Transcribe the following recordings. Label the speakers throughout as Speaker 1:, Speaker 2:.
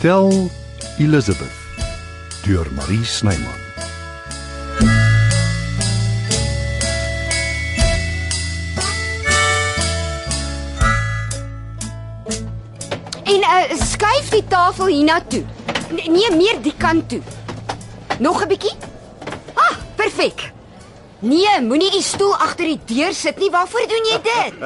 Speaker 1: Tel Elizabeth deur Marie Snyman.
Speaker 2: En uh, skuif die tafel hiernatoe. N- Nee, meer die kant toe. Nog 'n bietjie? Ah, perfek. Nee, moenie die stoel agter die deur sit nie. Waarvoor doen jy dit?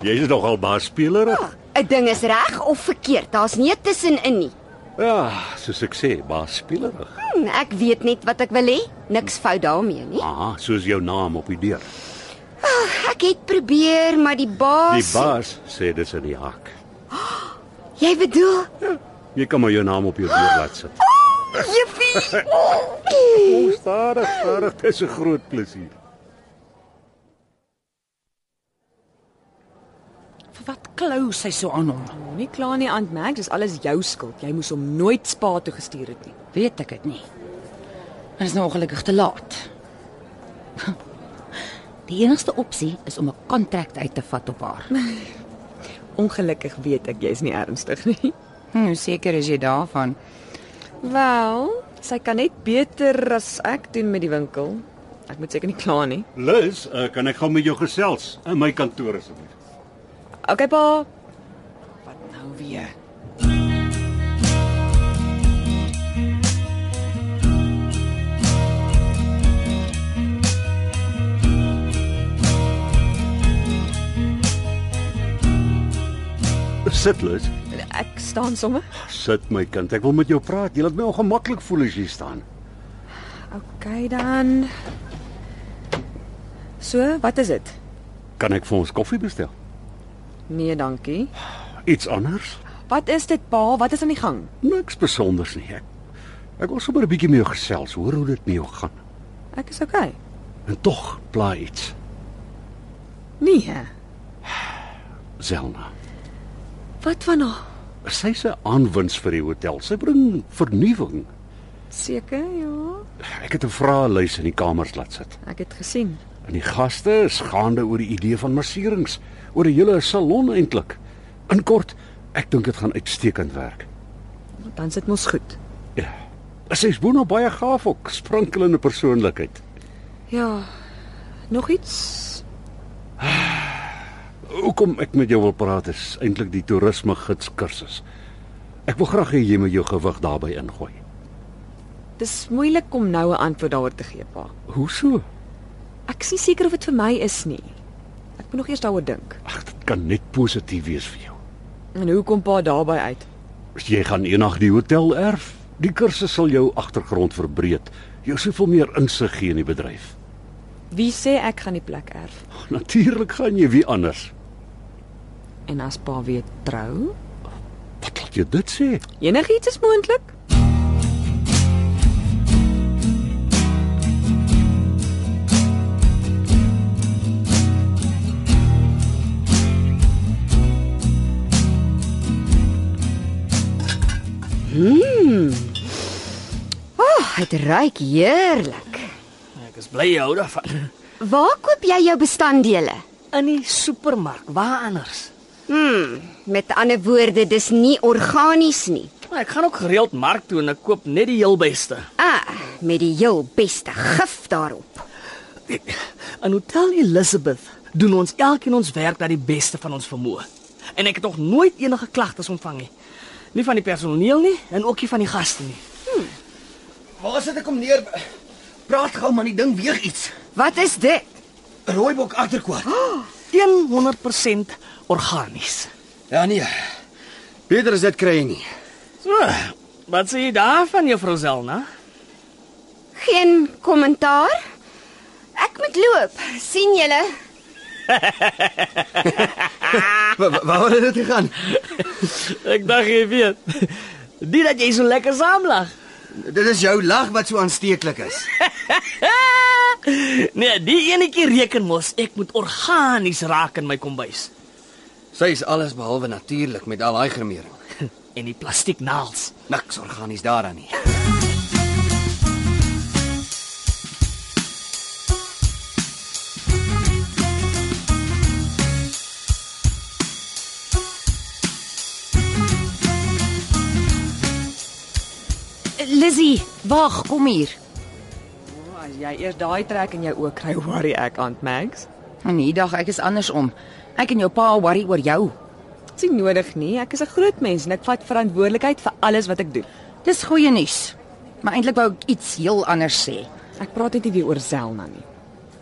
Speaker 3: Jy is nogal baasspeler.
Speaker 2: 'n Ding is reg of verkeerd. Daar's nie 'n tussenin nie.
Speaker 3: Ja, soos ek sê, baasspeler.
Speaker 2: Hm, ek weet net wat ek wil hê. Niks fout daarmee nie.
Speaker 3: Aha, Ah, soos jou naam op die deur.
Speaker 2: Ek het probeer, maar die
Speaker 3: Die
Speaker 2: baas
Speaker 3: baas sê dis in die hak.
Speaker 2: Jy bedoel?
Speaker 3: Jy kan maar jou naam op jou deur laat sit.
Speaker 2: Jiffie.
Speaker 3: O, stadig, stadig, dis 'n groot plesier.
Speaker 4: Wat klou sy so aan hom?
Speaker 5: Moenie kla nie aan Max, dis alles jou skuld. Jy moes hom nooit spa toe gestuur het nie.
Speaker 4: Weet ek dit nie. Ons is nou ongelukkig te laat. Die enigste opsie is om 'n kontrak uit te vat op haar.
Speaker 5: Ongelukkig weet ek jy's nie ernstig nie.
Speaker 4: Hoe seker is jy daarvan?
Speaker 5: Wel, sy kan net beter as ek doen met die winkel. Ek moet seker nie kla nie.
Speaker 3: Liz, uh, kan ek gou met jou gesels in my kantoor asseblief?
Speaker 5: Okay pa. Wat nou weer?
Speaker 3: Sit Liz,
Speaker 5: Ek staan sommer.
Speaker 3: sit my kind. Ek wil met jou praat. Jy laat my ongemaklik voel as jy staan.
Speaker 5: Okay dan. So, wat is dit?
Speaker 3: Kan ek vir ons koffie bestel?
Speaker 5: Nee, dankie.
Speaker 3: Iets anders?
Speaker 5: Wat is dit pa? Wat is aan die gang?
Speaker 3: Niks besonders nie. Ek ek wil sommer 'n bietjie met jou gesels, hoor hoe dit met jou gaan.
Speaker 5: Ek is okay.
Speaker 3: En tog pla iets.
Speaker 5: Nee.
Speaker 3: Zelna.
Speaker 5: Wat van haar?
Speaker 3: Sy's 'n aanwins vir die hotel. Sy bring vernuwing.
Speaker 5: Seker, ja.
Speaker 3: Ek het 'n vraelys in die kamers laat sit.
Speaker 5: Ek het gesien.
Speaker 3: En die gaste is gaande oor die idee van masserings, oor 'n hele salon eintlik. In kort, ek dink dit gaan uitstekend werk.
Speaker 5: Dan sit mos goed.
Speaker 3: Ja. Sy's boonop baie gaaf ook, sprankelende persoonlikheid.
Speaker 5: Ja. Nog iets?
Speaker 3: Hoekom ek met jou wil praat is eintlik die toerisme gids kursus. Ek wil graag hê jy moet jou gewig daarbey ingooi.
Speaker 5: Dis moeilik om nou 'n antwoord daaroor te gee, pa.
Speaker 3: Hoe so?
Speaker 5: Ek is nie seker of dit vir my is nie. Ek moet nog eers daaroor dink.
Speaker 3: Ag, dit kan net positief wees vir jou.
Speaker 5: En hoe kom pa daarby uit?
Speaker 3: Jy gaan eendag die hotel erf. Die kursus sal jou agtergrond verbreed, jou soveel meer insig gee in die bedryf.
Speaker 5: Wie sê ek gaan die plek erf?
Speaker 3: Natuurlik gaan jy wie anders.
Speaker 5: En as pa weer trou?
Speaker 3: Wat laat jy dit sê?
Speaker 5: Enigiets is moontlik.
Speaker 2: Oh, dit ruik heerlik.
Speaker 6: Ek is bly jy hou daarvan.
Speaker 2: Waar koop jy jou bestanddele?
Speaker 6: In die supermark, waar anders?
Speaker 2: Met ander woorde, dis nie organies nie.
Speaker 6: Maar ek gaan ook gereeld mark toe en ek koop net die heel beste.
Speaker 2: Ah, met die heel beste gif daarop.
Speaker 6: In Hotel Elizabeth doen ons elkeen ons werk na die beste van ons vermoë. En ek het nog nooit enige klagtes ontvang nie. Nie van die personeel nie en ook nie van die gaste nie.
Speaker 7: Waar sit ek kom neer? Praat gou man, die ding weeg iets.
Speaker 2: Wat is dit?
Speaker 7: Rooibok agterkwart.
Speaker 6: 100% organies.
Speaker 7: Ja nee. Beter as dit kry jy nie.
Speaker 6: So, wat sê jy daarvan juffrou Zelna?
Speaker 2: Geen kommentaar? Ek moet loop. sien julle?
Speaker 7: Wa- wa- Waar het dit gegaan?
Speaker 6: Ek dink jy weet. Dit dat jy so lekker saamlag.
Speaker 7: Dit is jou lag wat so aansteeklik is.
Speaker 6: nee, die enetjie reken mos ek moet organies raak in my kombuis
Speaker 7: Sy is alles behalwe natuurlik met al daai gremering.
Speaker 6: en die plastieknaels.
Speaker 7: Niks organies daaraan nie.
Speaker 4: Lizzy, wag, kom hier.
Speaker 5: Oh, as jy eers daai trek in jou oë kry, worry ek aan Max.
Speaker 4: Nee, dag, ek is andersom. Ek en jou pa worry oor jou.
Speaker 5: Dit's nie nodig nie. Ek is 'n groot mens en ek vat verantwoordelikheid vir alles wat ek doen.
Speaker 4: Dis goeie nuus. Maar eintlik wou ek iets heel anders sê.
Speaker 5: Ek praat net nie weer oor Zelna nie.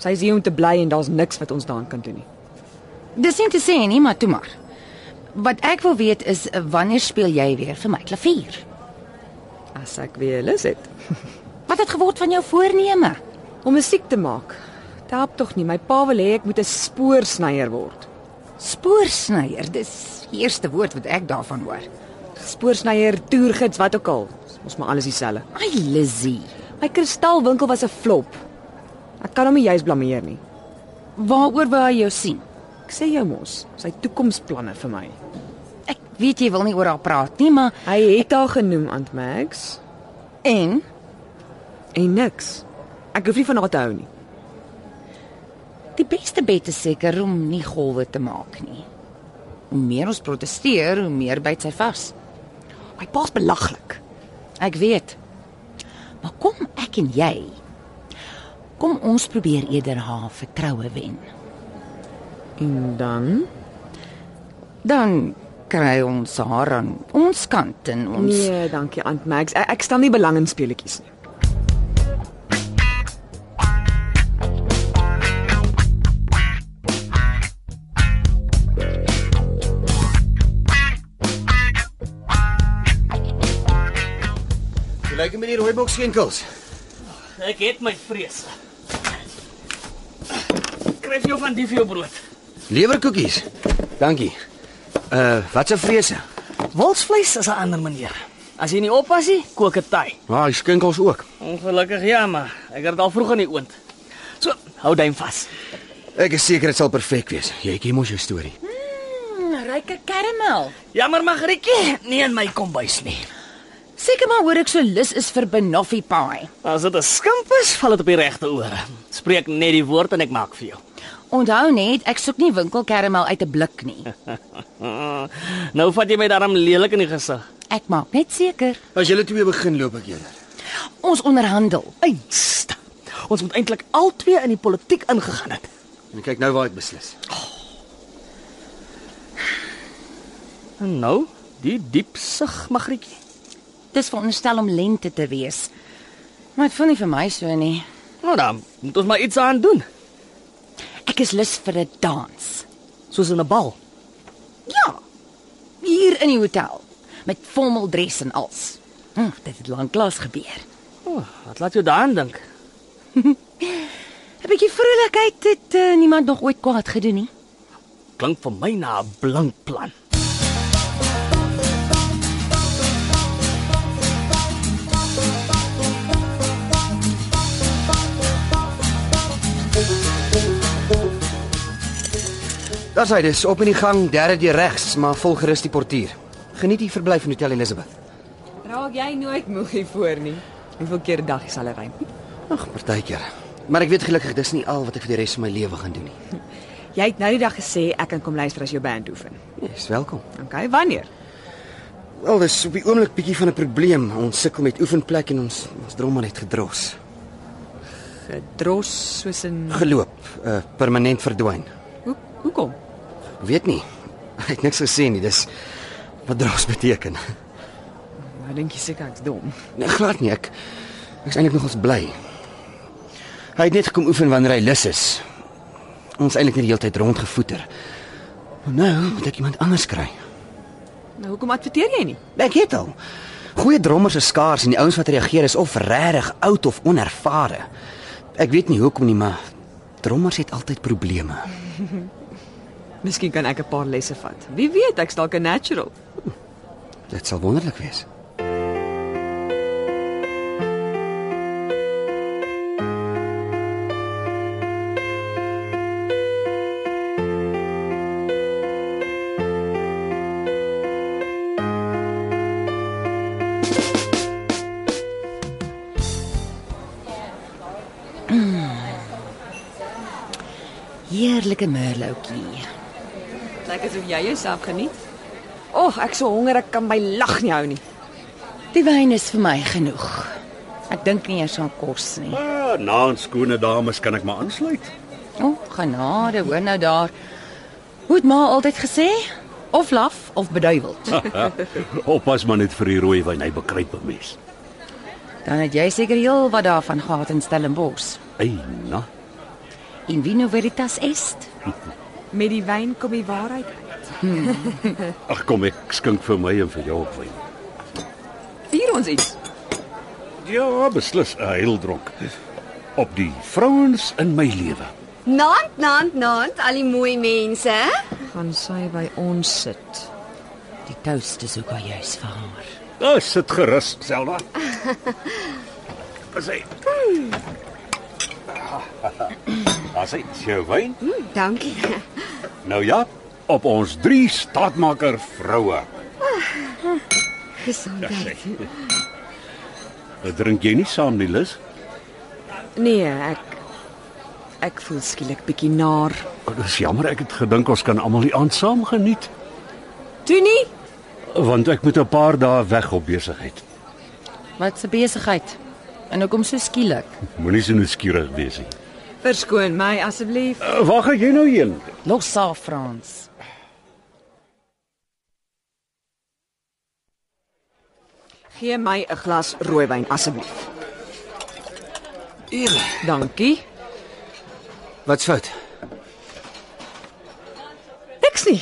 Speaker 5: Sy is hier om te bly en daar's niks wat ons daaraan kan doen nie.
Speaker 4: Dis nie te sê nie, maar toe maar. Wat ek wil weet is wanneer speel jy weer vir my klavier?
Speaker 5: As ek weer lus het
Speaker 4: Wat het geword van jou voorneme?
Speaker 5: om musiek te maak. Dit help tog nie. My pa wil hê ek moet 'n spoorsnyer word.
Speaker 4: Spoorsnyer, dis die eerste woord wat ek daarvan hoor.
Speaker 5: Spoorsnyer, toergids, wat ook al. Ons maar alles dieselfde.
Speaker 4: Ai Lizzy,
Speaker 5: My kristalwinkel was 'n flop. Ek kan hom nie juis blameer nie.
Speaker 4: waaroor wou hy jou sien?
Speaker 5: Ek sê jou mos, sy toekomsplanne vir my.
Speaker 4: Ek weet jy wil nie oor haar praat nie, maar
Speaker 5: Hy het haar genoem aan Max
Speaker 4: en
Speaker 5: en niks. Ek hoef nie van haar te hou nie.
Speaker 4: die beste bet is seker om nie golwe te maak nie. Hoe meer ons proteseer, hoe meer byt sy vas.
Speaker 5: My pa's belaglik.
Speaker 4: Ek weet. Maar kom ek en jy. Kom ons probeer eerder haar vertroue wen.
Speaker 5: En dan
Speaker 4: Dan kry ons haar aan ons kant en ons
Speaker 5: Nee, dankie Aunt Max. Ek, ek stel nie belang in speletjies nie.
Speaker 7: Jy lyk met die rooi boks skenkels.
Speaker 6: Ek het my vrees. Kry vir jou van die vir jou brood.
Speaker 7: Lewerkoekies. Dankie. Uh, wat 'n vrese.
Speaker 6: Wolsvleis is 'n ander manier. As jy nie oppas nie, kook dit taai.
Speaker 7: Maar hy skenkels ook.
Speaker 6: Ongelukkig ja, maar ek het dit al vroeg in die oond. So, hou duim vas.
Speaker 7: Ek is seker dit sal perfek wees. Jy ken mos jou storie.
Speaker 4: Hmm, ryker karamel.
Speaker 6: Jammer Magrietjie, nie in my kombuis nie.
Speaker 4: Seker maar hoor ek so lus is vir banoffee pie.
Speaker 6: As dit 'n skimp is, val dit op die regte oor. Spreek net die woord en ek maak vir jou.
Speaker 4: Onthou net, ek soek nie winkel karamel uit 'n blik nie.
Speaker 6: Ah, nou vat jy my daarom lelik in die gesig.
Speaker 4: Ek maak net seker
Speaker 7: As julle twee begin loop ek eerder.
Speaker 4: ons onderhandel.
Speaker 6: Einste. Ons moet eintlik al twee in die politiek ingegaan het.
Speaker 7: En kyk nou waar ek beslis.
Speaker 6: En nou, die diep sug Magrietjie.
Speaker 4: Dis veronderstel om lente te wees. Maar dit voel nie vir my so nie.
Speaker 6: Nou dan, moet ons maar iets aan doen,
Speaker 4: Ek is lus vir 'n dans.
Speaker 6: soos in 'n bal.
Speaker 4: Ja. Hier in die hotel met formal dress en alles. Hm, dit het lanklaas gebeur.
Speaker 6: Oh, wat laat jou daaraan dink?
Speaker 4: 'n Bietjie vrolikheid het uh, niemand nog ooit kwaad gedoen nie.
Speaker 6: Klink vir my na 'n blink plan.
Speaker 7: Daar's hy dis op in die gang, derde deur regs, maar volg gerus die portier. Geniet die verblyf in Hotel Elizabeth.
Speaker 5: Raak jy nooit moeg hiervoor nie. Hoeveel keer 'n dag sal hy ry?
Speaker 7: Ag, partykeer. Maar ek weet gelukkig dis nie al wat ek vir die res van my lewe gaan doen nie.
Speaker 5: Jy het nou die dag gesê ek kan kom luister as jou band oefen.
Speaker 7: Jy's welkom.
Speaker 5: Okay, wanneer?
Speaker 7: Wel, dis op die oomblik bietjie van 'n probleem. Ons sukkel met oefenplek en ons ons drom maar net gedros.
Speaker 5: Gedros soos 'n
Speaker 7: Geloop, uh, permanent verdwyn.
Speaker 5: Hoe hoekom?
Speaker 7: Weet nie. Ek het niks gesien nie. Dis wat dros beteken.
Speaker 5: Nou dink jy seker ek's dom.
Speaker 7: Nee, glad nie. Ek ek's eintlik nogals bly. Hy het net gekom oefen wanneer hy lus is. Ons eintlik net die hele tyd rondgevoeter. Maar nou moet ek iemand anders kry.
Speaker 5: Nou hoekom adverteer jy nie?
Speaker 7: Ek het al. Goeie drommers is skaars en die ouens wat reageer is of regtig oud of onervare. Ek weet nie hoekom nie, maar drommers het altyd probleme.
Speaker 5: Miskien kan ek 'n paar lesse vat. Wie weet, ek's dalk 'n natural.
Speaker 7: Dit sal wonderlik wees.
Speaker 4: Heerlike merlotjie.
Speaker 5: Lyk asof jy jouself geniet. Och, ek so honger, ek kan my lag nie hou nie.
Speaker 4: Die wyn is vir my genoeg. Ek dink nie eers aan kos nie.
Speaker 3: Ah, naans skone dames kan ek maar aansluit.
Speaker 4: O, oh, genade, hoor nou daar. Hoe het ma altyd gesê? Of laf of beduiweld.
Speaker 3: Oppas maar net vir die rooi wyn, hy bekruip 'n mens.
Speaker 4: Dan het jy seker heel wat daarvan gehad in Stellenbosch.
Speaker 3: Eina.
Speaker 4: In vino veritas est.
Speaker 5: Met die wyn kom die waarheid.
Speaker 3: Ag kom ek skink vir my en vir jou op wyn.
Speaker 5: Vier ons iets.
Speaker 3: Ja, beslis 'n heeldronk. Op die vrouens in my lewe.
Speaker 2: Naand, naand, naand, al die mooi mense.
Speaker 5: Gaan sy by ons sit.
Speaker 4: Die toast is ook al juis vir haar.
Speaker 3: Daar Ah, sit gerus, Selma. Pas hy. Daar sit jou wyn.
Speaker 2: Dankie.
Speaker 3: Nou ja, op ons drie staatmaker vroue.
Speaker 2: Gesondheid.
Speaker 3: Dit drink jy nie saam nie, Lis?
Speaker 5: Nee, ek ek voel skielik bietjie naar.
Speaker 3: Oh, Dis jammer, ek het gedink ons kan almal die aand saam geniet,
Speaker 5: Toe nie.
Speaker 3: want ek moet 'n paar dae weg op besigheid.
Speaker 4: Wat 'n besigheid. En hoekom so skielik?
Speaker 3: Moenie so nuuskierig wees nie.
Speaker 5: Verskoon my asseblief.
Speaker 3: Uh, Waar gaan jy nou heen?
Speaker 4: Los sa Frans.
Speaker 5: Gee my 'n glas rooiwyn asseblief.
Speaker 7: Ewe,
Speaker 5: Dankie.
Speaker 7: wat's fout?
Speaker 5: Niks nie.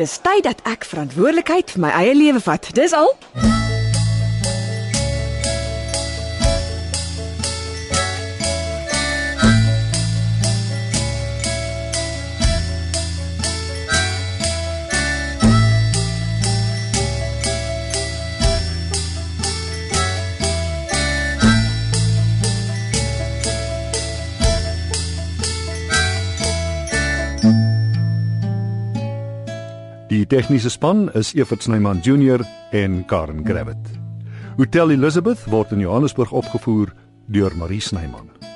Speaker 5: Dis tyd dat ek verantwoordelikheid vir my eie lewe vat. Dis al.
Speaker 1: Die tegniese span is Evert Snyman Junior en Karen Gravett. Hotel Elizabeth word in Johannesburg opgevoer deur Marie Snyman.